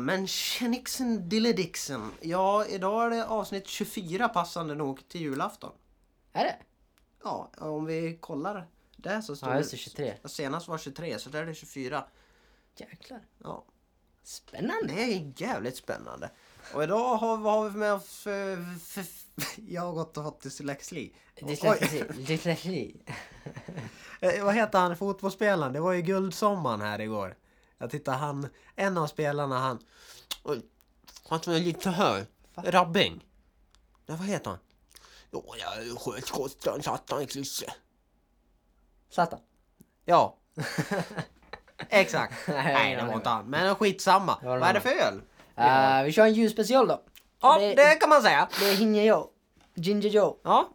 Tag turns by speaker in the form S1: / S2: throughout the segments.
S1: men tjenixen dillidixen. Ja, idag är det avsnitt 24 passande nog till julafton.
S2: Är det?
S1: Ja, om vi kollar där så står
S2: Ja, just det. 23.
S1: Senast var 23, så där är det 24.
S2: Jäklar.
S1: Ja,
S2: Spännande.
S1: det är jävligt spännande. Och idag har, vad har vi med oss för... för, för jag har gått och fått dyslexi.
S2: Dyslexi. Dyslexi.
S1: Eh, Vad heter han, fotbollsspelaren? Det var ju guldsommaren här igår. Jag tittar han, en av spelarna han... Oj, Han som är lite hög. Rabbing. Ja, vad heter han? Jo, jag sköt skotten så att han kryssade.
S2: Zlatan.
S1: Ja. Exakt.
S2: Nej,
S1: Nej,
S2: jag
S1: det var
S2: vet
S1: inte han. Men skitsamma.
S2: var det
S1: Vad är det för öl?
S2: Eh, vi kör en ljusspecial då.
S1: Ja,
S2: det,
S1: det kan man säga.
S2: det är Hinja Joe. Ginger Joe
S1: Ja,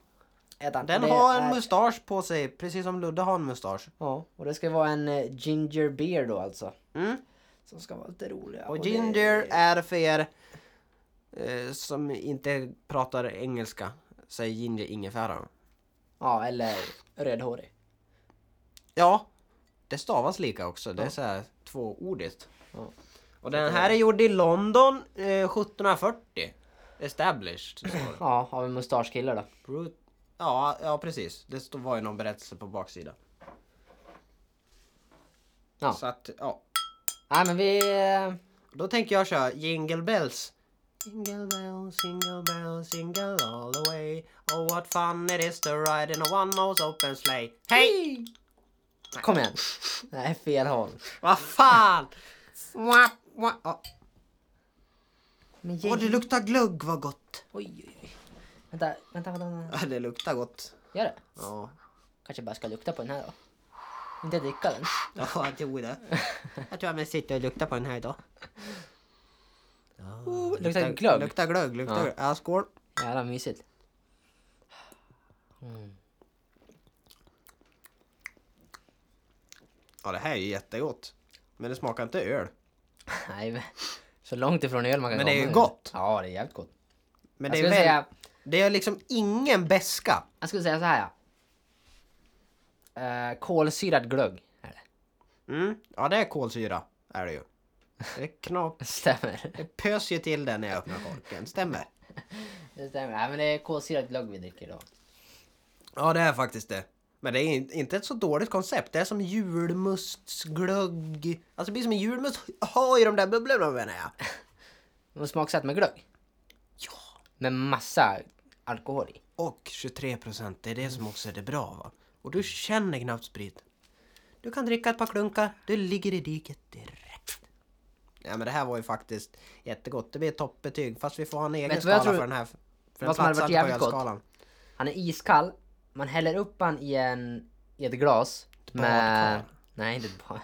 S2: heter han.
S1: den
S2: Och det
S1: har en
S2: är-
S1: mustasch på sig, precis som Ludde har en mustasch.
S2: Ja, och det ska vara en eh, ginger beer då alltså.
S1: Mm.
S2: Som ska vara lite roliga.
S1: Och
S2: det-
S1: ginger är för er eh, som inte pratar engelska. Säger ginger ingefära.
S2: Ja, eller rödhårig.
S1: Ja, det stavas lika också. Det är
S2: Ja.
S1: så här tvåordigt.
S2: Ja.
S1: Och den här är gjord i London eh, 1740. Established. står det.
S2: Ja, av en mustaschkille då.
S1: Brut- ja, ja, precis. Det stod- var ju någon berättelse på baksidan.
S2: Ja.
S1: Så att, ja.
S2: Nej men vi... eh,
S1: Då tänker jag köra Jingle Bells. Jingle bells, jingle bells, jingle all the way Oh what fun it is to ride in a one-nose open sleigh Hej!
S2: Kom igen. Nej, fel håll.
S1: Vad fan! Mwah, mwah. Ja.
S2: Men
S1: Åh,
S2: ge-
S1: det luktar glögg vad gott!
S2: Oj, oj, oj. Vänta, vänta, vänta, vänta.
S1: Ja, det luktar gott.
S2: Gör det?
S1: Ja,
S2: Kanske bara ska lukta på den här då. Inte dricka den.
S1: ja jo det. Jag tror jag vill sitta och lukta på den här idag.
S2: Oh, luktar glögg.
S1: Luktar glögg, luktar
S2: Ja.
S1: glögg. Ja, skål.
S2: Jävla mysigt.
S1: Ja, det här är ju jättegott. Men det smakar inte öl.
S2: Nej, men- så långt ifrån öl man kan
S1: Men det är ju
S2: nu.
S1: gott.
S2: Ja, det är jävligt gott.
S1: Men det
S2: Jag
S1: är,
S2: skulle,
S1: väl,
S2: säga,
S1: det är liksom ingen beska.
S2: jag skulle säga så här ja. Eh, kolsyrad glögg. Är det.
S1: Mm. Ja, det är kolsyra. Är det ju. Det knap...
S2: Stämmer.
S1: Det pös ju till den när jag öppnar korken. Stämmer.
S2: Det stämmer. Nej, men det är kolsyrad glögg vi dricker idag.
S1: Ja, det är faktiskt det. Men det är in- inte ett så dåligt koncept. Det är som julmustsglögg. Alltså det blir som en julmust. Ha i de där bubblorna menar jag.
S2: Och smaksatt med glögg.
S1: Ja.
S2: Med massa alkohol i.
S1: Och 23 procent. Det är det som också är det bra va. Och du känner knappt sprit. Du kan dricka ett par klunkar. Du ligger i diket direkt. Ja men det här var ju faktiskt jättegott. Det blir ett toppbetyg. Fast vi får ha en egen
S2: Vet du vad
S1: skala
S2: jag tror-
S1: för den här. För den
S2: vad som hade
S1: platsar
S2: varit
S1: inte på
S2: jävligt gott?
S1: ölskalan.
S2: Han är iskall. Man häller upp han i, en, i ett glas. Med...
S1: badkar.
S2: Nej, inte ett bad.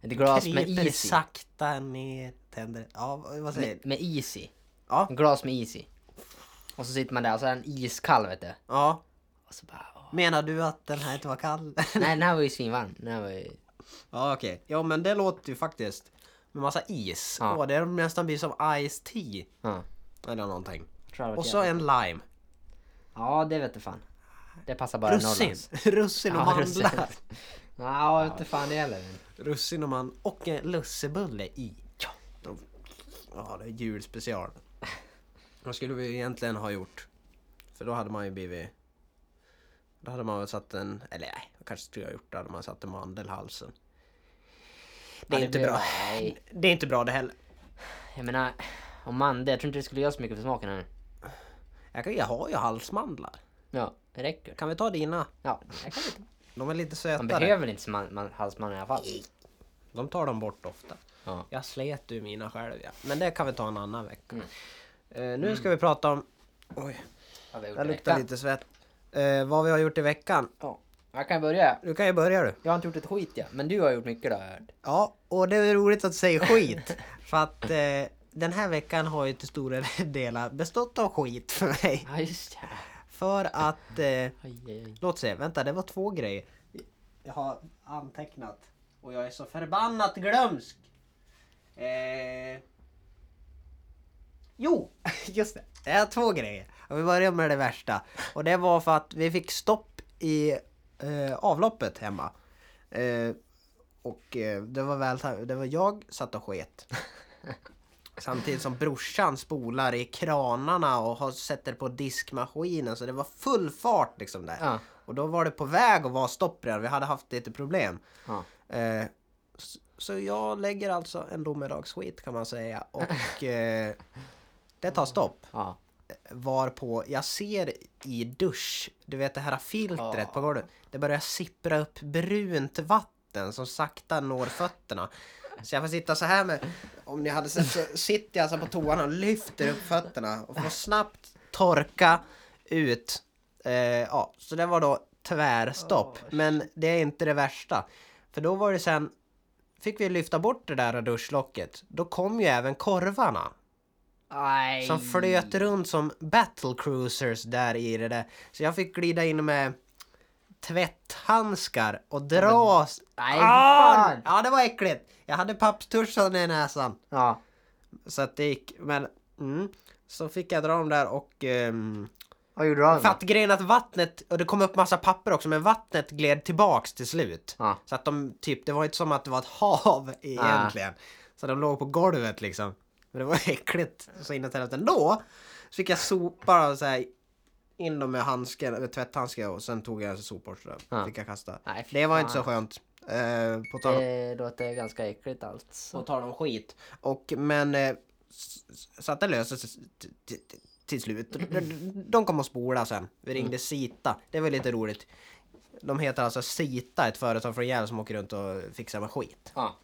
S2: Ett glas med
S1: Kryper
S2: is i.
S1: sakta ner, tänder... Ja, vad säger
S2: Med, med is i.
S1: Ja.
S2: Ett glas med is i. Och så sitter man där och så är den iskall vet du.
S1: Ja.
S2: Och så bara, åh.
S1: Menar du att den här inte var kall?
S2: Nej den här var ju svinvarm. Den här var ju...
S1: ja, okej. Ja, men det låter ju faktiskt... Med massa is.
S2: Ja.
S1: Åh, det nästan blir som iced tea.
S2: Ja.
S1: Eller någonting.
S2: jag tror det var
S1: Och så
S2: jävligt.
S1: en lime.
S2: Ja det vet du fan. Det passar bara
S1: Russin.
S2: Norrlands.
S1: Russin och
S2: Ja, russin.
S1: mandlar.
S2: Ja vet du fan det gäller.
S1: Russin och man och en lussebulle i. Ja. De- Ja, det är julspecial. Vad skulle vi egentligen ha gjort? För då hade man ju blivit... Då hade man väl satt en... Eller nej, jag kanske skulle ha gjort det. hade man satt en mandelhalsen. Det är
S2: Ja,
S1: inte
S2: blir-
S1: bra.
S2: Nej.
S1: Det är inte bra det heller.
S2: Jag menar, om man det, jag tror inte det skulle göra så mycket för smaken här.
S1: Jag, kan, jag har ju halsmandlar.
S2: Ja, det räcker.
S1: Kan vi ta dina?
S2: Ja, jag kan inte.
S1: De är lite
S2: Man
S1: sötare.
S2: behöver inte man, man, halsman i alla fall.
S1: De tar dem bort ofta.
S2: Ja.
S1: Jag slet ur mina själv ja. Men det kan vi ta en annan vecka.
S2: Mm.
S1: Eh, nu ska vi prata om... Oj.
S2: Ja, vi har
S1: Jag
S2: gjort det
S1: luktar
S2: veckan.
S1: lite svett. Eh, vad vi har gjort i veckan?
S2: Ja. Jag kan börja.
S1: Du kan ju börja du.
S2: Jag har inte gjort ett skit ja. Men du har gjort mycket då har jag hört.
S1: Ja, och det är roligt att säga skit. för att eh, den här veckan har ju till stora delar bestått av skit för mig.
S2: Ja just det.
S1: För att... Eh,
S2: Aj, aj, aj.
S1: låt se, vänta det var två grejer. Jag har antecknat. Och jag är så förbannat glömsk. Eh, jo, just det. Det är två grejer. Och vi börjar med det värsta. Och det var för att vi fick stopp i eh, avloppet hemma. Eh, och eh, det var väl det var jag satt och sket. Samtidigt som brorsan spolar i kranarna och har, sätter på diskmaskinen så det var full fart liksom där.
S2: Ja.
S1: Och då var det på väg att vara stopp redan, vi hade haft lite problem.
S2: Ja.
S1: Eh, s- så jag lägger alltså en domedagsskit kan man säga och eh, det tar stopp.
S2: ja.
S1: Varpå jag ser i dusch, du vet det här filtret
S2: Ja.
S1: på golvet, det börjar sippra upp brunt vatten som sakta når fötterna. Så jag får sitta så här med, om ni hade sett så sitter jag så här på toan och lyfter upp fötterna och får snabbt torka ut. Eh, ja, så det var då tvärstopp. Men det är inte det värsta. För då var det sen, fick vi lyfta bort det där duschlocket, då kom ju även korvarna.
S2: Aj.
S1: Som flöt runt som battlecruisers där i det där. Så jag fick glida in med tvätthandskar och dra...
S2: Nej,
S1: Ah!
S2: fan!
S1: Ja, det var äckligt! Jag hade papptuschan i näsan.
S2: Ja.
S1: Så att det gick, men... Mm. Så fick jag dra dem där och... ehm,
S2: Vad gjorde du av
S1: för
S2: dem?
S1: att grejen är att vattnet, och det kom upp massa papper också, men vattnet gled tillbaks till slut.
S2: Ja.
S1: Så att de typ, det var inte som att det var ett hav egentligen. Så de låg på golvet liksom. Men det var äckligt så in i helvete ändå. Så fick jag sopa och så här in dem med handsken, med tvätthandske och sen tog jag en sopborste
S2: Ja.
S1: fick jag kasta.
S2: Nej, fy
S1: det var
S2: fan.
S1: inte så skönt. Eh, på tal om
S2: Det låter ganska äckligt alltså.
S1: och tar dem skit. Och men eh, s- s- så att det löser sig t- t- t- till slut. De- De kom och spola sen. Vi
S2: Mm.
S1: ringde Sita. Det var lite roligt. De heter alltså Sita, ett företag från Gävle som åker runt och fixar med skit.
S2: Ja.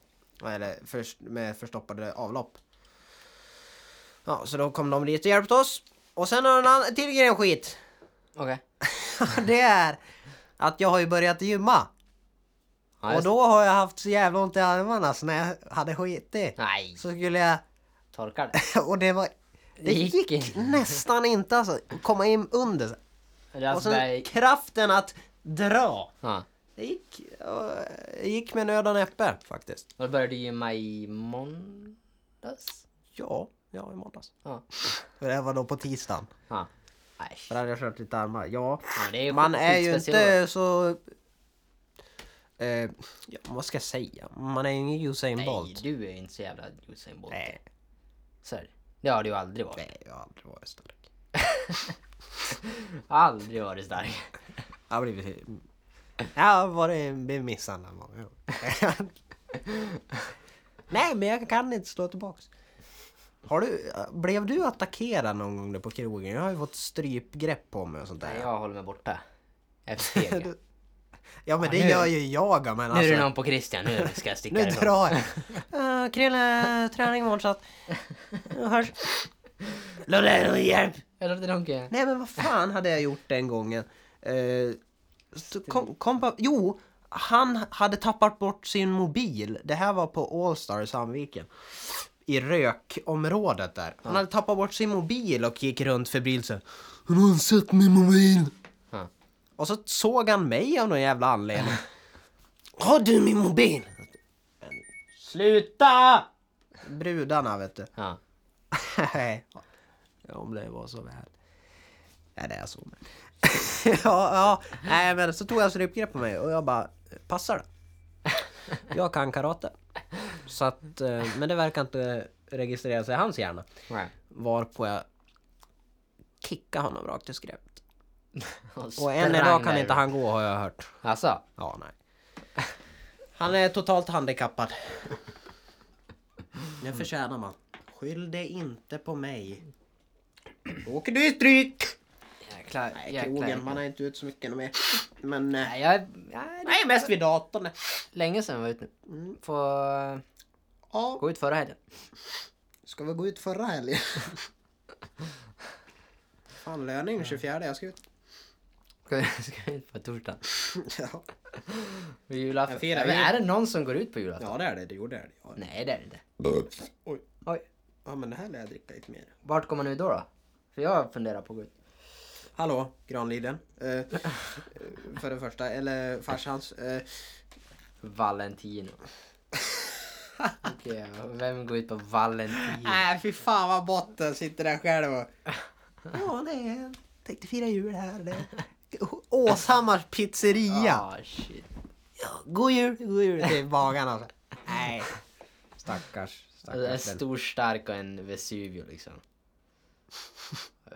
S1: Eller förs- med förstoppade avlopp. Ja, så då kom de dit och hjälpte oss. Och sen har en annan till grej om skit.
S2: Okej.
S1: Det är att jag har ju börjat gymma.
S2: Ja,
S1: och
S2: just-
S1: då har jag haft så jävla ont i armarna så när jag hade skitit
S2: Nej,
S1: så skulle jag
S2: torka det.
S1: Och det var... Det
S2: Det gick
S1: gick,
S2: inte.
S1: nästan inte alltså. att Komma in under.
S2: Eller alltså,
S1: Och sen
S2: det är...
S1: kraften att dra.
S2: Ja.
S1: Det gick, eh, gick med nöd och näppe faktiskt.
S2: Och då började du gymma i måndags?
S1: Ja, ja i måndags.
S2: Ja.
S1: För det var då på tisdagen.
S2: ja. Nej,
S1: För då hade jag kört lite armar. Ja.
S2: fan, det är
S1: Man
S2: skit-
S1: är ju
S2: skitspeciellt.
S1: inte så... Eh, ja, vad ska jag säga? Man är ju ingen Usain
S2: Nej,
S1: Bolt.
S2: du är ju inte så jävla Usain Bolt.
S1: Nej,
S2: Så är det. Det har du ju aldrig varit.
S1: nej, jag har aldrig varit stark.
S2: Aldrig varit stark.
S1: Jag har blivit... Jag har varit blivit misshandlad många gånger. Nej, men jag kan inte slå tillbaks. Har du, blev du attackerad någon gång där på krogen? Jag har ju fått strypgrepp på mig och sånt där.
S2: Nej, jag håller mig borta. Jag är för feg.
S1: Du- Ja men
S2: Ja,
S1: det
S2: nu-
S1: gör ju jag men
S2: Nu är
S1: alltså.
S2: det någon på Christian, nu ska jag sticka
S1: Nu
S2: härifrån.
S1: drar jag. Uh, Krille, träning imorgon så att... Hörs. Lulle, hjälp!
S2: Jag låter Donke.
S1: Nej men vad fan hade jag gjort den gången? Eh, så kom, kom på, jo, han hade tappat bort sin mobil. Det här var på Allstar i Sandviken. I rökområdet där. Han hade tappat bort sin mobil och gick runt febrilt så här, Har någon sett min mobil?
S2: Ja.
S1: Och så såg han mig av någon jävla anledning. Har du min mobil?
S2: Sluta!
S1: Brudarna vet du.
S2: Ja.
S1: Nej. Ja, Om det var så väl. Ja, det är så. Men. ja, ja. Nej, men så tog jag strypgrepp på mig och jag bara, passar det? Jag kan karate. Så att, eh, men det verkar inte registrera sig i hans hjärna.
S2: Nej.
S1: Varpå jag kickade honom rakt i skrevet. Och
S2: sprang
S1: än idag kan
S2: därifrån.
S1: inte han gå har jag hört.
S2: Alltså,
S1: Ja, nej. Han är totalt handikappad. Nu förtjänar man. Skyll det inte på mig. Då åker du i stryk!
S2: jäklar.
S1: Nej,
S2: jäklar,
S1: krogen. Man
S2: jäklar.
S1: är inte ut så mycket mer. Men... eh,
S2: Nej, jag är... Nej, det
S1: Nej, mest vid datorn.
S2: är länge sedan jag var ute nu.
S1: Mm.
S2: Får eh,
S1: Ja,
S2: gå ut förra helgen.
S1: ska vi gå ut förra helgen? Fan, löning 24. Jag ska ut.
S2: Ska vi, ska vi ut på torsdag?
S1: Ja,
S2: På julafton?
S1: Jag firar
S2: Men
S1: jul.
S2: Är det någon som går ut på julafton?
S1: ja det är det. Det gjorde det. Ja.
S2: Nej, det är det inte.
S1: Oj.
S2: Oj.
S1: Ja, men det här lär jag dricka lite mer.
S2: Vart kommer man ut då? då? För jag funderar på att gå ut.
S1: Hallå, Granliden. Eh, eh, för det första, eller farsans. Eh,
S2: Valentino. Okej, vem går ut på Valentino?
S1: Nej, fy fan vad botten sitter där själv och... Ja, det är... Tänkte fira jul här. Det. Åshammars pizzeria.
S2: Ah, shit.
S1: Ja, god jul, god jul till bagarna. alltså. Nej. Stackars,
S2: Alltså, en
S1: stackars den.
S2: stor stark och en Vesuvio liksom.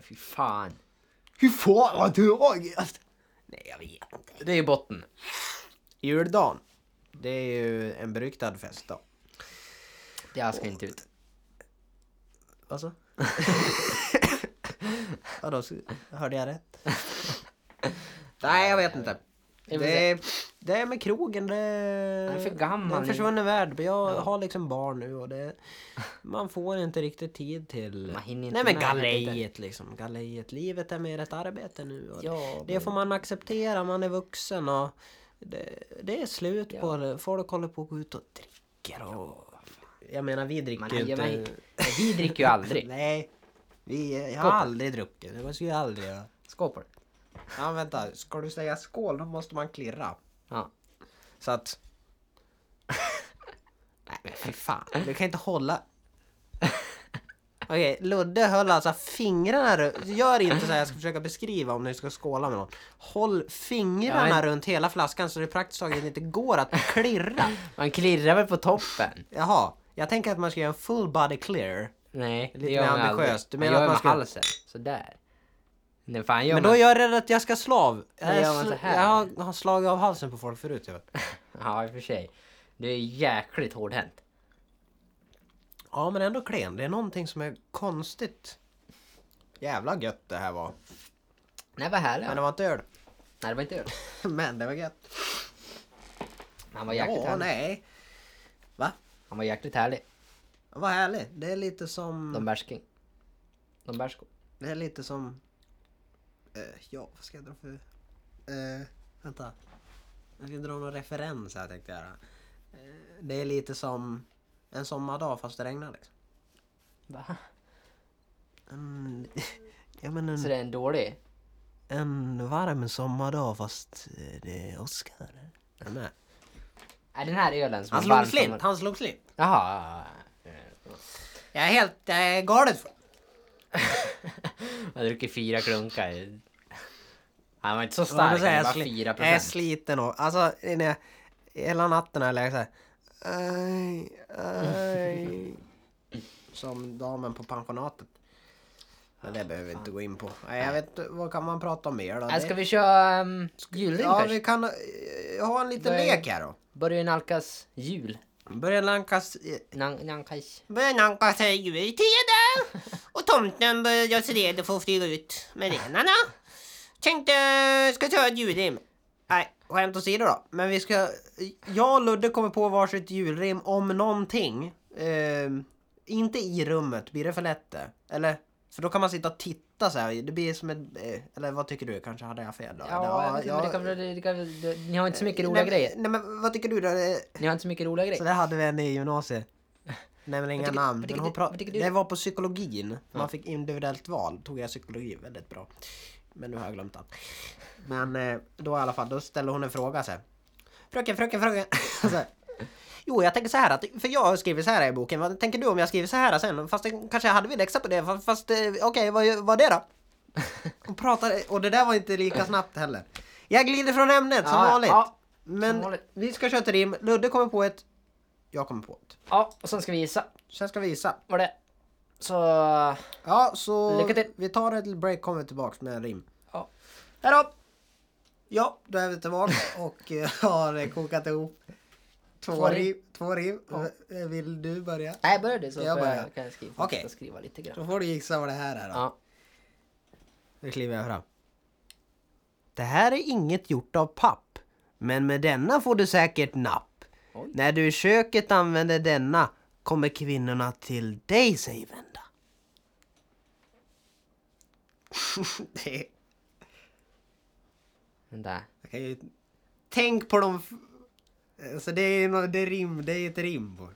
S2: Fy fan.
S1: Hur fan vad du ångest?
S2: Nej jag vet inte. Det är botten.
S1: Juldagen. Det är ju en beryktad festdag.
S2: Jag ska inte ut.
S1: Vad så? Alltså? Vadå, s- hörde jag rätt? Nej, jag vet inte.
S2: Jag vill
S1: Det är, det är med krogen, det är...
S2: är för gammal
S1: Det är en
S2: nu.
S1: försvunnen värld. Jag
S2: Ja.
S1: har liksom barn nu och det... Man får inte riktigt tid till...
S2: Man hinner inte
S1: Nej men
S2: med det lite.
S1: galejet liksom. Galejet. Livet är mer ett arbete nu. Och
S2: Ja,
S1: det får man acceptera, man är vuxen och... Det, det är slut
S2: Ja.
S1: på det. Folk håller på att gå ut och dricker och... Jag menar vi dricker
S2: man
S1: ju
S2: hejar
S1: inte...
S2: mig. Vi dricker ju aldrig.
S1: Nej. Vi, jag har
S2: Skål.
S1: aldrig druckit. Det måste ju aldrig göra.
S2: Skål på det.
S1: Ja vänta, ska du säga skål då måste man klirra.
S2: Ja.
S1: Så att... Nej men fy fan, du kan inte hålla... Okej, Ludde höll alltså fingrarna runt... Gör inte så här, jag ska försöka beskriva om ni ska skåla med någon. Håll fingrarna
S2: Ja, men-
S1: runt hela flaskan så det praktiskt taget inte går att klirra.
S2: Man klirrar väl på toppen?
S1: Jaha, jag tänker att man ska göra en full body clear.
S2: Nej, det
S1: Lite
S2: gör
S1: mer
S2: man aldrig.
S1: ambitiöst. Du menar
S2: man
S1: att
S2: gör
S1: man
S2: med
S1: ska-
S2: halsen. Sådär. Nej fan gör
S1: Men
S2: man...
S1: då är jag rädd att jag ska slå av. Jag,
S2: Nej,
S1: är
S2: gör man
S1: sl-
S2: så här.
S1: jag har, har slagit av halsen på folk förut. Jag.
S2: Ja i och för sig. Du är jäkligt hårdhänt.
S1: Ja men ändå klen, det är någonting som är konstigt. Jävla gött det här var.
S2: Nej vad härligt.
S1: Men
S2: Nej
S1: det var inte öl.
S2: det var inte öl.
S1: Men det var gött.
S2: Han var jäkligt
S1: Ja,
S2: härlig.
S1: nej. Va?
S2: Han var jäkligt härlig.
S1: Vad härligt. Det är lite som...
S2: Don Bärsking. Don Bärsko.
S1: Det är lite som... Eh, ja, vad ska jag dra för... Eh, vänta. Jag ska dra någon referens här tänkte jag göra. Eh, det är lite som en sommardag fast det regnar liksom.
S2: Va?
S1: En, Mm. ja, men en,
S2: Så det är en dålig?
S1: en varm sommardag fast eh, det är åska. eller? Är du med?
S2: Är den här ölen som
S1: Han
S2: är
S1: slog
S2: varm
S1: slint,
S2: sommar-
S1: han slog slint.
S2: Jaha. ja, ja, ja.
S1: Jag är helt eh, galet full.
S2: Jag dricker fyra klunkar. Han var inte så
S1: Vad man
S2: stark,
S1: säger,
S2: han
S1: jag
S2: var
S1: sli-
S2: fyra
S1: Jag är
S2: procent.
S1: sliten och, alltså när jag, hela natten har jag legat såhär. Aj, aj. Som damen på pensionatet. Men det behöver vi inte gå in på. Nej, jag vet inte, vad kan man prata om mer då?
S2: Ah, Äh, ska
S1: Det-
S2: vi köra um, julrim
S1: ja,
S2: först?
S1: vi kan eh, ha en liten
S2: Vad är-
S1: lek här då.
S2: Börjar nalkas jul.
S1: Börja lankas...
S2: Nan- Nankas.
S1: Börja lankas i jultiden! Och tomten börjar se redo för att flyga ut med renarna. Tänkte, ska köra ett julrim. Nej, skämt åsido då. Men vi ska... Jag och Ludde kommer på varsitt julrim om någonting. Ehm, inte i rummet, blir det för lätt det? Eller? För då kan man sitta och titta så här. Det blir som ett... eh, Eller vad tycker du? Kanske hade jag fel då?
S2: Ja,
S1: Eller,
S2: jag vet inte, men det kan, väl- det kan, väl- det, ni har inte så mycket roliga
S1: nej,
S2: grejer.
S1: Nej Eh, men vad tycker du då? Eh,
S2: Ni har inte så mycket roliga
S1: så
S2: grejer.
S1: det hade vi en i gymnasiet. Nämner inga
S2: tycker-
S1: namn.
S2: vad
S1: Men
S2: tycker
S1: hon
S2: du-
S1: pra-
S2: vad tycker du?
S1: det var på psykologin. Man fick individuellt val. Tog jag psykologi väldigt bra. Men nu har jag glömt allt. Men eh, då i alla fall, då ställer hon en fråga så här. Fröken, fröken, fröken. Så här. Jo, jag tänker så här att, för jag har skrivit så här i boken, vad tänker du om jag skriver så här sen? Fast det, kanske jag hade väl läxa på det, fa- fast eh, okej, vad var det då? Och pratade, och det där var inte lika snabbt heller. Jag glider från ämnet som
S2: Ja,
S1: vanligt.
S2: ja,
S1: Men
S2: som vanligt.
S1: vi ska köra ett rim, Ludde kommer på ett, jag kommer på ett.
S2: Ja, och sen ska vi gissa
S1: Sen ska vi gissa.
S2: vad det är. Så...
S1: Ja, så
S2: Lycka till.
S1: vi tar ett break kommer tillbaks med en rim.
S2: Ja.
S1: Hejdå! Ja, då är vi tillbaka och eh, har kokat ihop två
S2: Två rim.
S1: rim. Två rim. Eh, Vill du börja?
S2: Nej, börja du så
S1: Jag
S2: jag får
S1: börjar.
S2: jag, kan jag skriva,
S1: Okej.
S2: okay. skriva lite grann.
S1: Då får du gissa vad det här är då.
S2: Ja.
S1: Nu kliver jag fram. Det här är inget gjort av papp, men med denna får du säkert napp.
S2: Oj.
S1: När du i köket använder denna kommer kvinnorna till dig sig vända. Det-
S2: Vänta.
S1: jag kan ju... Tänk på de... f- Alltså det är, nå- det är, rim, det är ett rim på.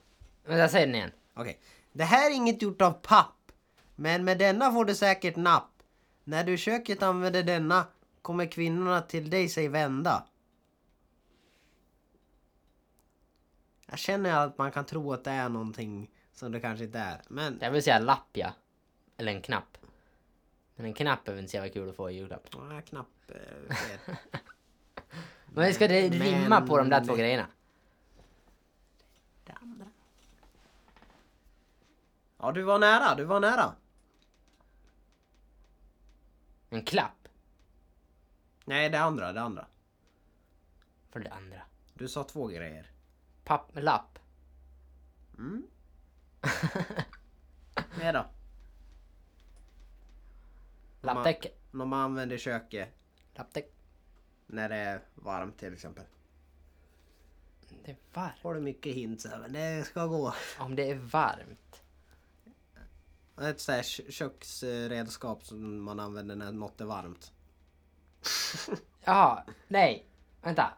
S2: Vänta, säg den igen.
S1: Okej. Det här är inget gjort av papp. Men med denna får du säkert napp. När du i köket använder denna kommer kvinnorna till dig sig vända. Jag känner att man kan tro att det är någonting som det kanske inte är. Men...
S2: Det här vill säga lapp ja. Eller en knapp. Men en knapp är väl inte så jävla kul att få i julklapp.
S1: Ja, knappt. eh, fel.
S2: Men ska det rimma på de där
S1: Men-
S2: två grejerna?
S1: Det andra. Ja, du var nära, du var nära.
S2: En klapp
S1: Nej, det andra, det andra.
S2: för det andra.
S1: Du sa två grejer.
S2: Papp, lapp.
S1: Mm. Nej då.
S2: Lapptäcke.
S1: När man använder köket
S2: Lapptäcke.
S1: när det är varmt till exempel.
S2: Det är varmt.
S1: Har du mycket hint så här, men det ska gå.
S2: Om det är varmt.
S1: Ett sånt här kö- köksredskap som man använder när något är varmt.
S2: Jaha, nej. Vänta.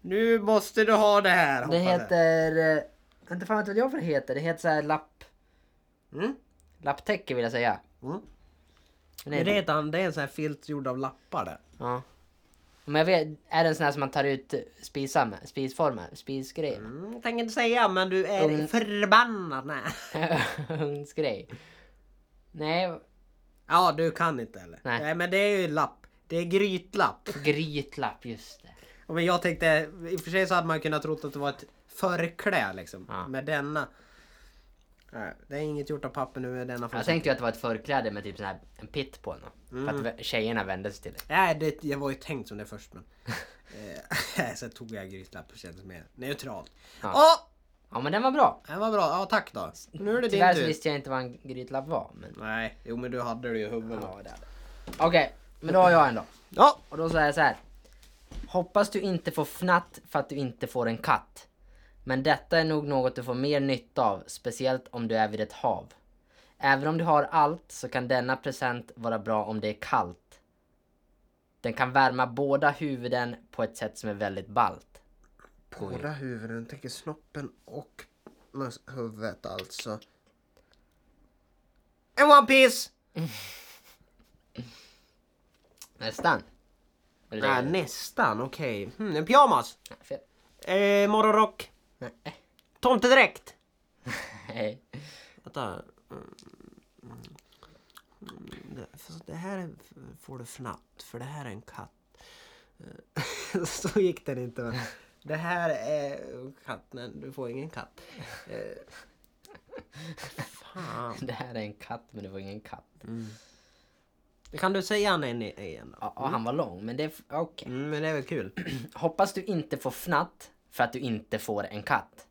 S1: Nu måste du ha det här
S2: Det
S1: hoppade.
S2: heter... eh, Inte fan vet vad jag för det heter. Det heter så här lapp...
S1: Mm?
S2: Lapptäcke vill jag säga.
S1: Mm.
S2: Men
S1: Det,
S2: det är
S1: är
S2: inte-
S1: redan, det är en sån här filt gjord av lappar där.
S2: Ja. Men jag vet, är det en sån här som man tar ut eh, spisar med? Spisformer? Spisgrejer?
S1: Mm, tänker inte säga men du är
S2: Mm.
S1: förbannad nej.
S2: Ugnsgrej? Nej,
S1: Ja du kan inte eller?
S2: Nej.
S1: men det är ju lapp. Det är grytlapp.
S2: grytlapp just det.
S1: Ja, Men jag tänkte, i och för sig så hade man kunnat tro att det var ett förklä liksom.
S2: Ja.
S1: Med denna. Nej, det är inget gjort av papper nu med denna
S2: Jag
S1: fortsätt.
S2: tänkte ju att det var ett förkläde med typ sån här en pitt på nå. För
S1: Mm.
S2: att vä- tjejerna vände sig till det.
S1: Nej, det, jag var ju tänkt som det först men. eh, sen tog jag grytlapp och kändes mer neutralt.
S2: Ja.
S1: Åh!
S2: Ja men den var bra.
S1: Den var bra, ja tack då. Nu är det
S2: Tyvärr
S1: din
S2: så
S1: tur.
S2: visste jag inte vad en grytlapp var. Men...
S1: Nej, jo men du hade det ju i huvudet.
S2: Ja, det hade Okej, men då har jag en då.
S1: Ja.
S2: Och då så är det så här. Hoppas du inte får fnatt för att du inte får en katt. Men detta är nog något du får mer nytta av, speciellt om du är vid ett hav. Även om du har allt så kan denna present vara bra om det är kallt. Den kan värma båda huvuden på ett sätt som är väldigt ballt.
S1: Båda huvuden, tänker snoppen och möss- huvudet alltså. En One Piece!
S2: Nästan. Eller det-
S1: Nej, nästan, okej. Hmm, en pyjamas!
S2: Fel.
S1: Eh, morgonrock.
S2: Nej.
S1: Tomtedräkt.
S2: Nej.
S1: Vänta. Mm. Mm, det- fast Det här är- får du fnatt, för det här är en katt. Eh, Så gick den inte. men Det här är katten, du får ingen katt. Eh, Fan.
S2: Det här är en katt men det var ingen katt.
S1: Kan du säga han en i- igen då?
S2: Ja, och han var lång men det... Okej.
S1: Mm, men det är väl kul.
S2: Hoppas du inte får fnatt för att du inte får en katt.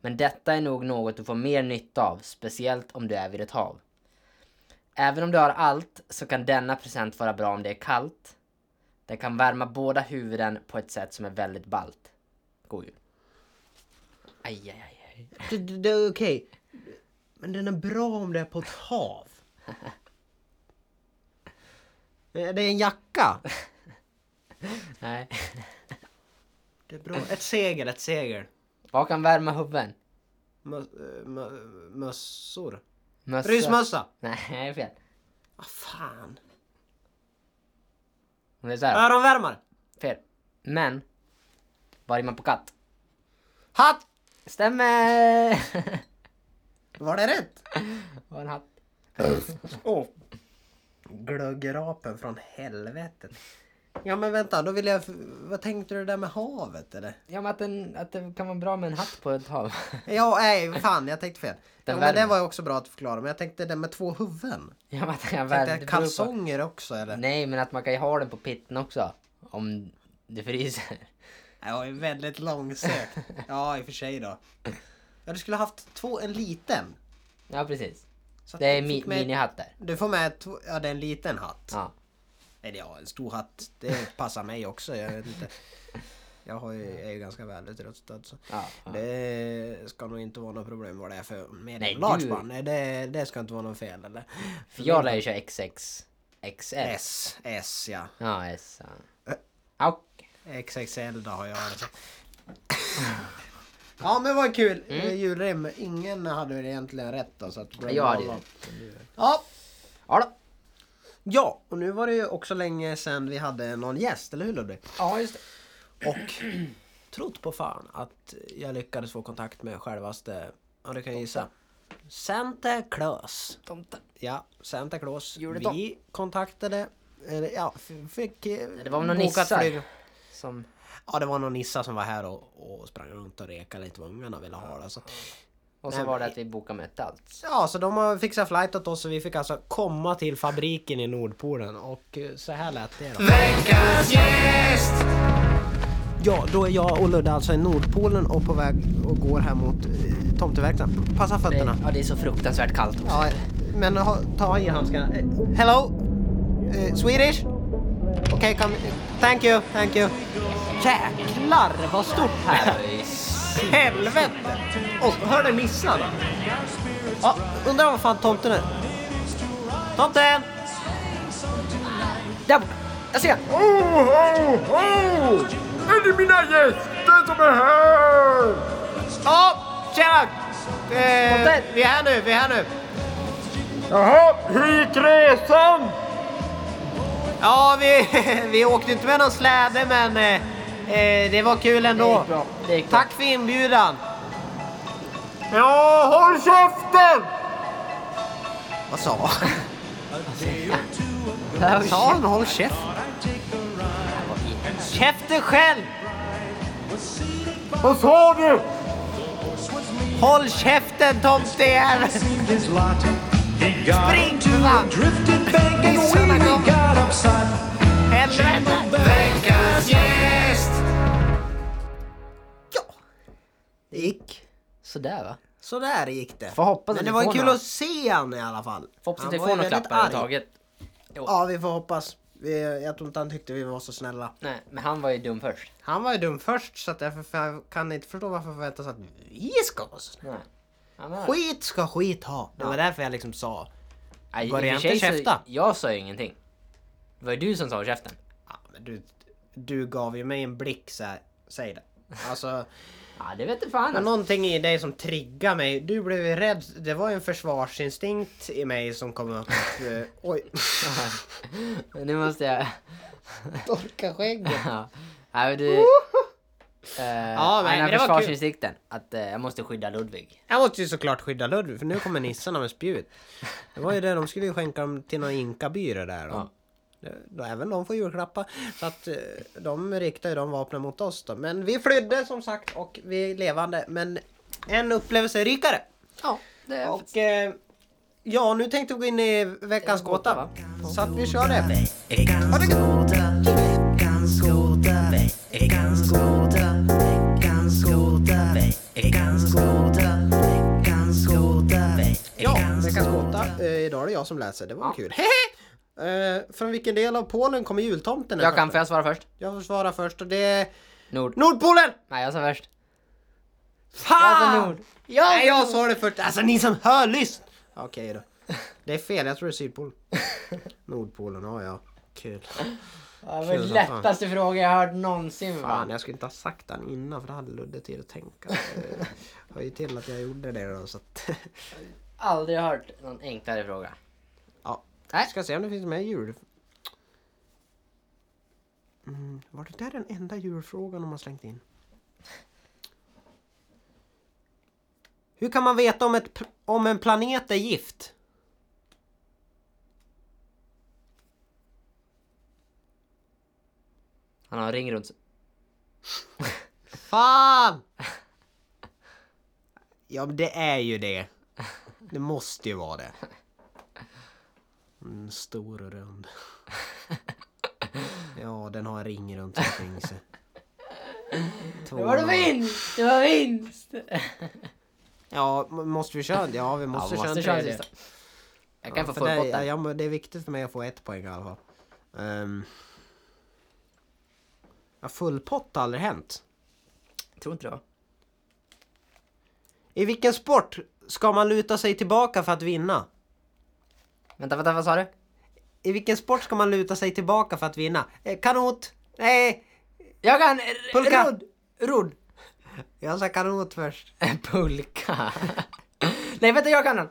S2: Men detta är nog något du får mer nytta av, speciellt om du är vid ett hav. Även om du har allt så kan denna present vara bra om det är kallt. Den kan värma båda huvuden på ett sätt som är väldigt ballt. God jul. Aj, aj, aj, aj.
S1: Det, det, det är okej. Men den är bra om det är på ett hav. Eh, Det är en jacka.
S2: Nej.
S1: Det är bra. Ett segel, ett segel.
S2: Vad kan värma huvuden?
S1: Mö- eh, mö- Mössor.
S2: Mössa?
S1: Rysmössa!
S2: Nej, fel.
S1: Vad fan.
S2: Det är så
S1: Ah.
S2: här.
S1: Öronvärmare.
S2: Fel. Men. Vad rimmar på katt?
S1: Hatt!
S2: Stämmer!
S1: Var det rätt?
S2: Vad en hatt.
S1: Åh. Glöggrapen från helvetet. Ja men vänta, då vill jag... f- Vad tänkte du där med havet eller?
S2: Ja men att, den, att det kan vara bra med en hatt på ett hav.
S1: Ja, nej fan jag tänkte fel. Ja,
S2: Den
S1: men det
S2: värmer.
S1: var ju också bra att förklara, men jag tänkte det med två huvuden.
S2: Ja men att den kan
S1: Tänkte
S2: det beror
S1: jag
S2: på-
S1: kalsonger också eller?
S2: Nej men att man kan ju ha den på pitten också. Om det fryser.
S1: Ja, det är väldigt långsökt. Ja, i och för sig då. Ja, du skulle haft två, en liten.
S2: Ja precis.
S1: Så att
S2: Det är
S1: du
S2: mi-
S1: fick med-
S2: minihattar.
S1: Du får med, två, ja det är en liten hatt.
S2: Ja.
S1: Eller ja, en stor hatt. Det passar mig också, jag vet inte. Jag har ju, är ju ganska välutrustad så.
S2: ja, ja.
S1: Det ska nog inte vara något problem vad det är för
S2: Nej,
S1: medium
S2: du-
S1: large man. Nej, det, det ska inte vara något fel eller?
S2: För jag lär ju köra XX. XS.
S1: S, S ja.
S2: Ja S. ja. Ja. okej.
S1: XXL då har jag alltså. Ja men vad kul! Mm. Julrim. Ingen hade det egentligen rätt då så att...
S2: Jag hade ju
S1: Ja!
S2: Ja då.
S1: Ja! Och nu var det ju också länge sedan vi hade någon gäst, eller hur Ludvig?
S2: Ja just det.
S1: Och trott på fan att jag lyckades få kontakt med självaste, ja du kan gissa. Santa Claus.
S2: Tomten.
S1: Ja, Santa Claus.
S2: Jultomten.
S1: Vi kontaktade, eller ja, f- fick... eh,
S2: Det var väl någon
S1: bokat
S2: nissar.
S1: flyg-
S2: Som.
S1: Ja, det var någon nissa som var här och, och sprang runt och rekade lite vad ungarna ville ha. Alltså.
S2: Och så
S1: Nej,
S2: var det
S1: men-
S2: att vi bokade möte alltså.
S1: Ja, så de har fixat flight åt oss och vi fick alltså komma till fabriken i Nordpolen och eh, så här lät det då.
S3: Veckans gäst!
S1: Ja, då är jag och Ludde alltså i Nordpolen och på väg och går här mot eh, tomteverkstan. Passa
S2: Det,
S1: fötterna.
S2: ja, det är så fruktansvärt kallt också.
S1: Ja, men ha, ta i handskarna. Eh, Hello? Eh, Swedish? Okej, kom. Thank you, thank you. Jäklar vad stort här
S2: Här är ju-
S1: Helvete! Och hörde Nissan? Ja, undrar vad fan tomten är. Tomten! Där borta! Jag ser!
S3: Oh, oh, oh! Är det mina gäster som är här?
S1: Ja, tjena! Eh,
S2: Tomten!
S1: vi är här nu, vi är här nu.
S3: Jaha, hur gick resan?
S1: Ja, vi, vi åkte inte med någon släde men eh, eh, det var kul
S2: Det
S1: ändå.
S2: gick bra. Det gick bra.
S1: Tack för inbjudan!
S3: Ja, håll käften!
S1: Vad sa han?
S2: Det här var ju-
S1: Sa han håll käft? Käften själv!
S3: Vad sa du?
S1: Håll käften tomtejävel!
S4: his lot. He got
S1: Spring,
S4: onto
S1: va.
S4: a drifted bank and
S1: Son
S4: when
S1: of
S4: he
S1: a-
S4: got upside,
S1: Helvete!
S3: Veckans gäst!
S1: Ja, det gick.
S2: Sådär va?
S1: Sådär gick det.
S2: Får hoppas
S1: Men
S2: att
S1: det
S2: vi
S1: var ju
S2: får
S1: kul
S2: några.
S1: att se han i alla fall.
S2: Får hoppas att vi
S1: Han var
S2: får
S1: ju
S2: några
S1: väldigt
S2: klappar
S1: arg.
S2: överhuvudtaget.
S1: Ja, vi får hoppas. Vi, jag tror inte han tyckte vi var så snälla.
S2: Nej, men han var ju dum först.
S1: Han var ju dum först så att därför för- kan inte förstå varför förväntas att vi ska vara så snälla.
S2: Nej. Han var...
S1: Skit ska skit ha. Det var därför jag liksom sa.
S2: Nej, i
S1: Börja
S2: och för
S1: inte
S2: sig så-
S1: käfta.
S2: Jag sa ju ingenting. Det var ju du som sa käften.
S1: "Ja, men du, du gav ju mig en blick så här. Säg det. Alltså,
S2: Ja, det vet du fan.
S1: det var
S2: Alltså.
S1: någonting i dig som triggade mig. Du blev ju rädd. Det var ju en försvarsinstinkt i mig som kom upp. Eh, Oj,
S2: alltså. Nu måste jag...
S1: torka skägget.
S2: ja. Nej, men du... Eh,
S1: Ja, men-
S2: den här
S1: men det var kul.
S2: försvarsinsikten. Att eh, jag måste skydda Ludvig.
S1: Jag måste ju såklart skydda Ludvig för nu kommer nissarna med spjut. Det var ju det, de skulle ju skänka dem till någon inkaby det där.
S2: Ja.
S1: då. Det- Då, även de får julklappar. Så att eh, de riktar ju de vapnen mot oss då. Men vi flydde som sagt och vi är levande. Men en upplevelse rikare.
S2: Ja, det är
S1: Och eh, ja, nu tänkte vi gå in i veckans
S2: gåta,
S1: gåta. Så att vi kör det.
S5: Veckans gåta, veckans gåta, veckans gåta, veckans gåta, veckans gåta, veckans gåta,
S1: Ja,
S5: veckans
S1: veckans gåta. Eh, idag är det jag som läser, det var kul. Hehe! Eh, från vilken del av Polen kommer jultomten?
S2: Jag kan, får jag svara först?
S1: Jag får svara först och det är
S2: Nord.
S1: Nordpolen!
S2: Nej, jag sa först.
S1: Fan!
S2: Jag sa nord.
S1: Nej, jag sa det först. Alltså ni som hör, lyssna! Okej då. Det är fel, jag tror det är Sydpolen. Nordpolen, ja ja. Kul.
S2: Ja,
S1: var den lättaste
S2: fråga jag hört någonsin.
S1: Fan, jag skulle inte ha sagt den innan för då hade Ludde tid att tänka. Det hör ju till att jag gjorde det då så att...
S2: Aldrig hört någon enklare fråga.
S1: Ja.
S2: Nej.
S1: Ska se om det finns mer jul. Mm, var det där den enda julfrågan de har slängt in? Hur kan man veta om, ett, pl- om en planet är gift?
S2: Han har en ring runt
S1: Fan! Ja, men det är ju det. Det måste ju vara det. Mm, stor och rund. Ja, den har en ring runt sin kring sig.
S2: Det var vinst! Det var vinst!
S1: Ja, m- måste vi köra? Ja, vi måste,
S2: ja, måste
S1: köra
S2: köra
S1: en tredje.
S2: sista. Jag kan
S1: Ja,
S2: få
S1: för det, ja,
S2: fullpotten.
S1: ja, men det är viktigt för mig att få ett poäng i alla fall. Um, ja, full pott har aldrig hänt.
S2: Tror inte det va?
S1: I vilken sport ska man luta sig tillbaka för att vinna?
S2: Vänta, vänta, vad sa du?
S1: I vilken sport ska man luta sig tillbaka för att vinna? Eh, kanot! Nej!
S2: Jag kan...
S1: Pulka!
S2: Rodd! Rodd!
S1: Jag sa kanot först.
S2: Pulka. Nej, vänta, jag kan den.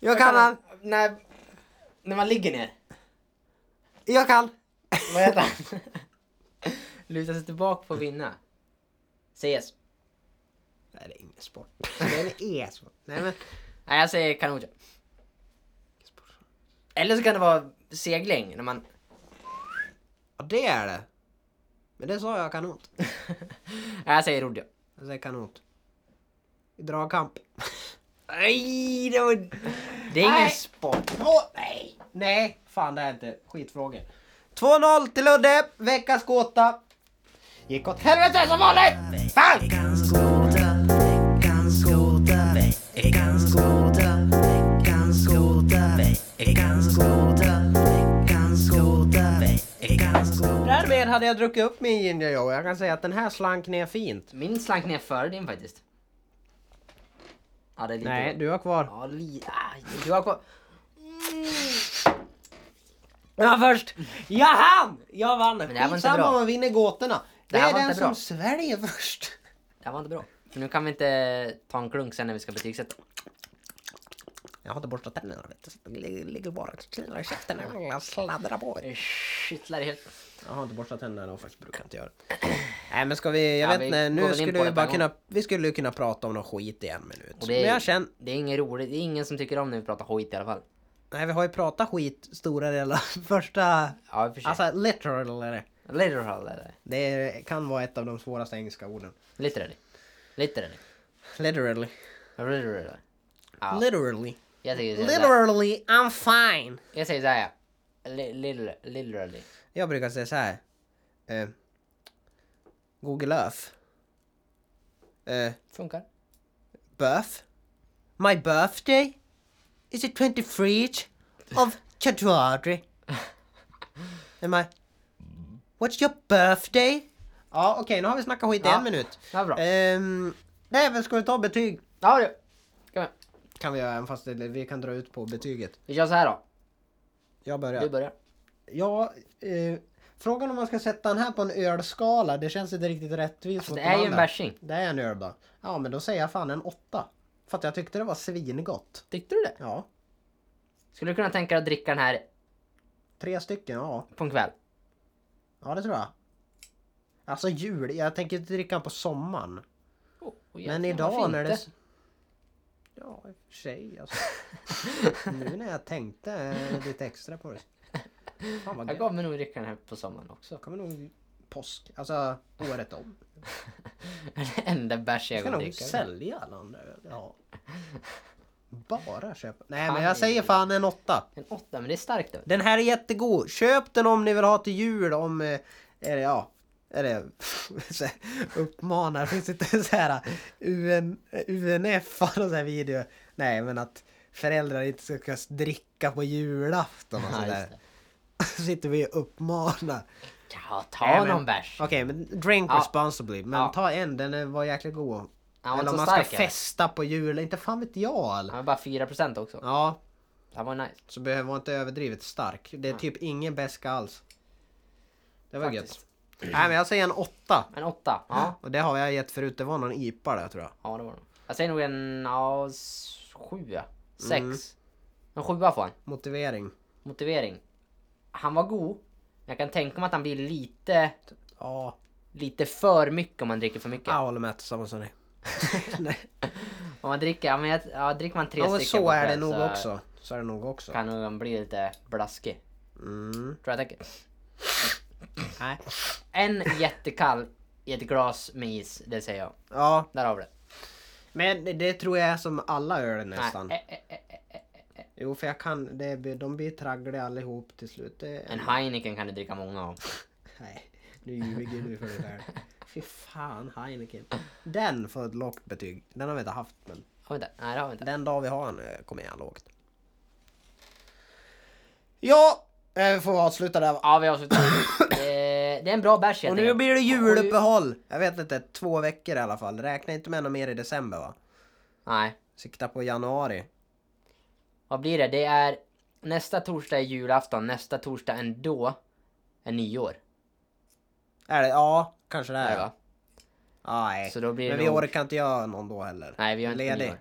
S1: Jag kan han!
S2: När... När man ligger ner.
S1: Jag kan!
S2: Vad heter han? Luta sig tillbaka för att vinna. CS.
S1: Nej, det är ingen sport. Det är en e-sport. Nej men...
S2: Nej, jag säger kanot. Eller så kan det vara segling, när man...
S1: Ja, det är det. Men det sa jag kanot.
S2: Nej, jag säger rodd ja.
S1: Jag säger kanot. Dragkamp. Nej, det var... Det är ingen sport. Åh, nej. Nej, fan det här är inte. Skitfrågor. 2-0 till Ludde. Veckans gåta. Gick åt helvete som vanligt. Fan!
S5: Veckans gåta, veckans gåta, veckans gåta, veckans gåta, veckans gåta, veckans gåta, veckans gåta.
S1: Därmed hade jag druckit upp min ginger joe. Jag kan säga att den här slank ner fint.
S2: Min slank ner före din faktiskt. Ja, det är lite...
S1: Nej, du har kvar.
S2: Ja, li... Aj, du har kvar... Mm. Jag var först!
S1: Jag hann! Jag vann!
S2: det här var inte bra.
S1: Skitsamma om man vinner gåtorna. Det,
S2: Det här
S1: är
S2: var
S1: den
S2: inte
S1: som
S2: bra.
S1: sväljer först.
S2: Det här var inte bra. För nu kan vi inte ta en klunk sen när vi ska betygsätta.
S1: Jag har inte borstat tänderna vet du. Så det ligger- Ligger bara och kliar i käften. Jag sladdrar på.
S2: Det kittlar i helt.
S1: Jag har inte borstat tänderna och faktiskt brukar jag inte göra det. Nej men ska vi, jag
S2: Ja,
S1: vet
S2: vi
S1: inte,
S2: går
S1: nu
S2: väl in
S1: skulle
S2: på
S1: vi
S2: det
S1: bara
S2: på en
S1: kunna, vi skulle kunna prata om någon skit i en minut.
S2: Och det är-
S1: Men jag känner,
S2: Det är inget roligt. Det är ingen som tycker om när vi pratar skit i alla fall.
S1: nej vi har ju pratat skit stora delar första,
S2: Ja, i och för sig.
S1: alltså literal är det.
S2: Literal är det.
S1: Det är- kan vara ett av de svåraste engelska orden.
S2: Literally. Literally.
S1: Literally.
S2: Literally. Ja.
S1: Literally.
S2: Jag säger så här.
S1: Literally I'm fine.
S2: Jag säger så här. Li- lil- Literally.
S1: Jag brukar säga så här. Eh, Google Earth. Eh,
S2: Funkar.
S1: birth. My birthday is the 23rd of January. Am I... What's your birthday? Ja, okej, nu har vi snackat skit i
S2: Ja,
S1: en minut.
S2: det var bra.
S1: Ehm, nej, men ska vi ta betyg?
S2: Ja du. Kom igen.
S1: Kan vi göra, även fast det, vi kan dra ut på betyget.
S2: Vi kör så här då.
S1: Jag börjar.
S2: Du börjar.
S1: Ja, eh, frågan om man ska sätta den här på en ölskala, det känns inte riktigt rättvist mot
S2: Alltså, Det
S1: de
S2: är ju en
S1: andra.
S2: bärsing.
S1: Det är en öl bara. Ja, men då säger jag fan en åtta. För att jag tyckte det var svingott.
S2: Tyckte du det?
S1: Ja,
S2: Skulle du kunna tänka dig att dricka den här
S1: tre stycken, ja.
S2: på en kväll?
S1: Ja, det tror jag. Alltså jul, jag tänker inte dricka den på sommaren.
S2: Oh,
S1: Men idag när det... Ja, i och för sig alltså. Nu när jag tänkte eh, lite extra på det. Fan vad
S2: Jag
S1: gött.
S2: gav mig nog dricka den här på sommaren också.
S1: Kommer nog påsk, alltså året om.
S2: Den enda bärs jag
S1: Jag ska
S2: kommer
S1: nog
S2: dricka.
S1: sälja alla andra öl. Ja. Bara köpa. Nej
S2: Fan,
S1: men
S2: det är
S1: jag säger
S2: dyrt.
S1: fan en åtta.
S2: En åtta, men det är starkt. öl.
S1: Den här är jättegod. Köp den om ni vill ha till jul om... eh, Är det, ja. Är det... så här, Uppmanar. Finns det inte så här UN, UNF och så här video? Nej men att föräldrar inte ska kunna dricka på julafton och
S2: Ja, just
S1: sådär.
S2: det.
S1: Så sitter vi och uppmanar.
S2: Ja, ta
S1: Nej, men-
S2: någon bärs.
S1: Okej men drink
S2: Ja.
S1: responsibly. Men
S2: Ja.
S1: ta en, den är- var jäkligt god.
S2: Ja, men
S1: Eller om
S2: så
S1: man ska
S2: stark är den.
S1: festa på jul, inte fan vet jag. Eller?
S2: Han var bara 4% också.
S1: Ja,
S2: Det var nice.
S1: så behöver man inte överdrivet stark. Det är typ ingen beska alls. Det var
S2: Faktiskt.
S1: gött. Nej men jag säger en åtta.
S2: En åtta. Ja,
S1: Och det har jag gett förut, det var någon IPA där tror jag.
S2: ja det var det. Jag säger nog en ja, s- sjua. Sex.
S1: Mm.
S2: En sjua får han.
S1: Motivering.
S2: Motivering. Han var god. men Jag kan tänka mig att han blir lite,
S1: Ja,
S2: lite för mycket om man dricker för mycket.
S1: jag håller med tillsammans hörni. Nej.
S2: Om man dricker, ja, men jag, ja, dricker man tre
S1: Ja, men
S2: stycken
S1: så
S2: på
S1: är det
S2: kväll
S1: nog
S2: så
S1: också. Så är det nog också.
S2: Kan nog han bli lite blaskig.
S1: Mm.
S2: Tror jag tänker.
S1: Nej.
S2: En jättekall i ett glas med is, det säger jag.
S1: Ja,
S2: Där har vi det.
S1: men det- det tror jag är som alla öl
S2: Nej, eh,
S1: nästan.
S2: ä- ä- ä- ä-
S1: Jo, för jag kan, det, blir- de blir traggliga allihop till slut. Det,
S2: En Heineken kan du dricka många av.
S1: Nej, nu ljuger du för dig själv. Fy fan Heineken. Den får ett lågt betyg. Den har vi inte haft men
S2: Har vi inte? Nej det har vi inte.
S1: den dag vi har den eh, kommer jag lågt. Ja, eh, vi får avsluta där. va?
S2: Ja vi avslutar. Eh, det är en bra bärs helt
S1: Och nu
S2: enkelt.
S1: blir det
S2: Oj.
S1: juluppehåll. Jag vet inte, två veckor i alla fall. Räkna inte med något mer i december va?
S2: Nej.
S1: Sikta på januari.
S2: Vad blir det? Det är nästa torsdag är julafton, nästa torsdag ändå är nyår.
S1: Är det? Ja, kanske det
S2: Är
S1: är.
S2: det va?
S1: Ja, nej.
S2: Så då blir det
S1: men vi
S2: nog-
S1: orkar inte göra någon då heller.
S2: Nej vi gör inte
S1: Ledig.
S2: nyår.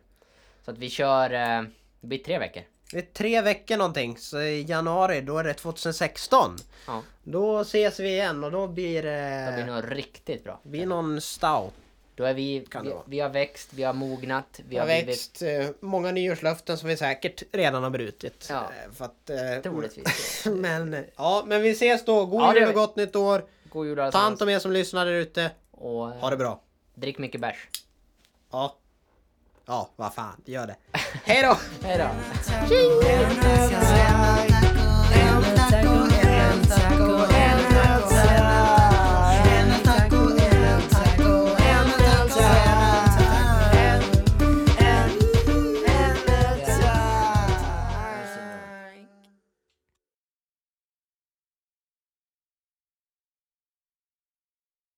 S2: Så att vi kör, eh, det blir tre veckor.
S1: Det är tre veckor någonting, så i januari då är det 2016.
S2: Ja.
S1: Då ses vi igen och då blir det...
S2: Det blir nog riktigt bra.
S1: blir någon stout.
S2: Då är vi,
S1: Kan det
S2: vi,
S1: vara.
S2: vi har växt, vi har mognat, vi
S1: Jag
S2: har
S1: har
S2: blivit...
S1: växt eh, många nyårslöften som vi säkert redan har brutit.
S2: Ja.
S1: Eh, För att, eh,
S2: Troligtvis.
S1: men, eh, ja, men vi ses då. God
S2: Ja, det
S1: jul
S2: gör
S1: och
S2: vi.
S1: gott nytt år.
S2: God jul
S1: Ta hand
S2: allesammans.
S1: om er som lyssnar där ute.
S2: Och
S1: Ha
S2: eh,
S1: det bra.
S2: drick mycket bärs.
S1: Ja. Ja, vad fan, gör det. Hej då!
S2: Hej då!
S5: Tjing!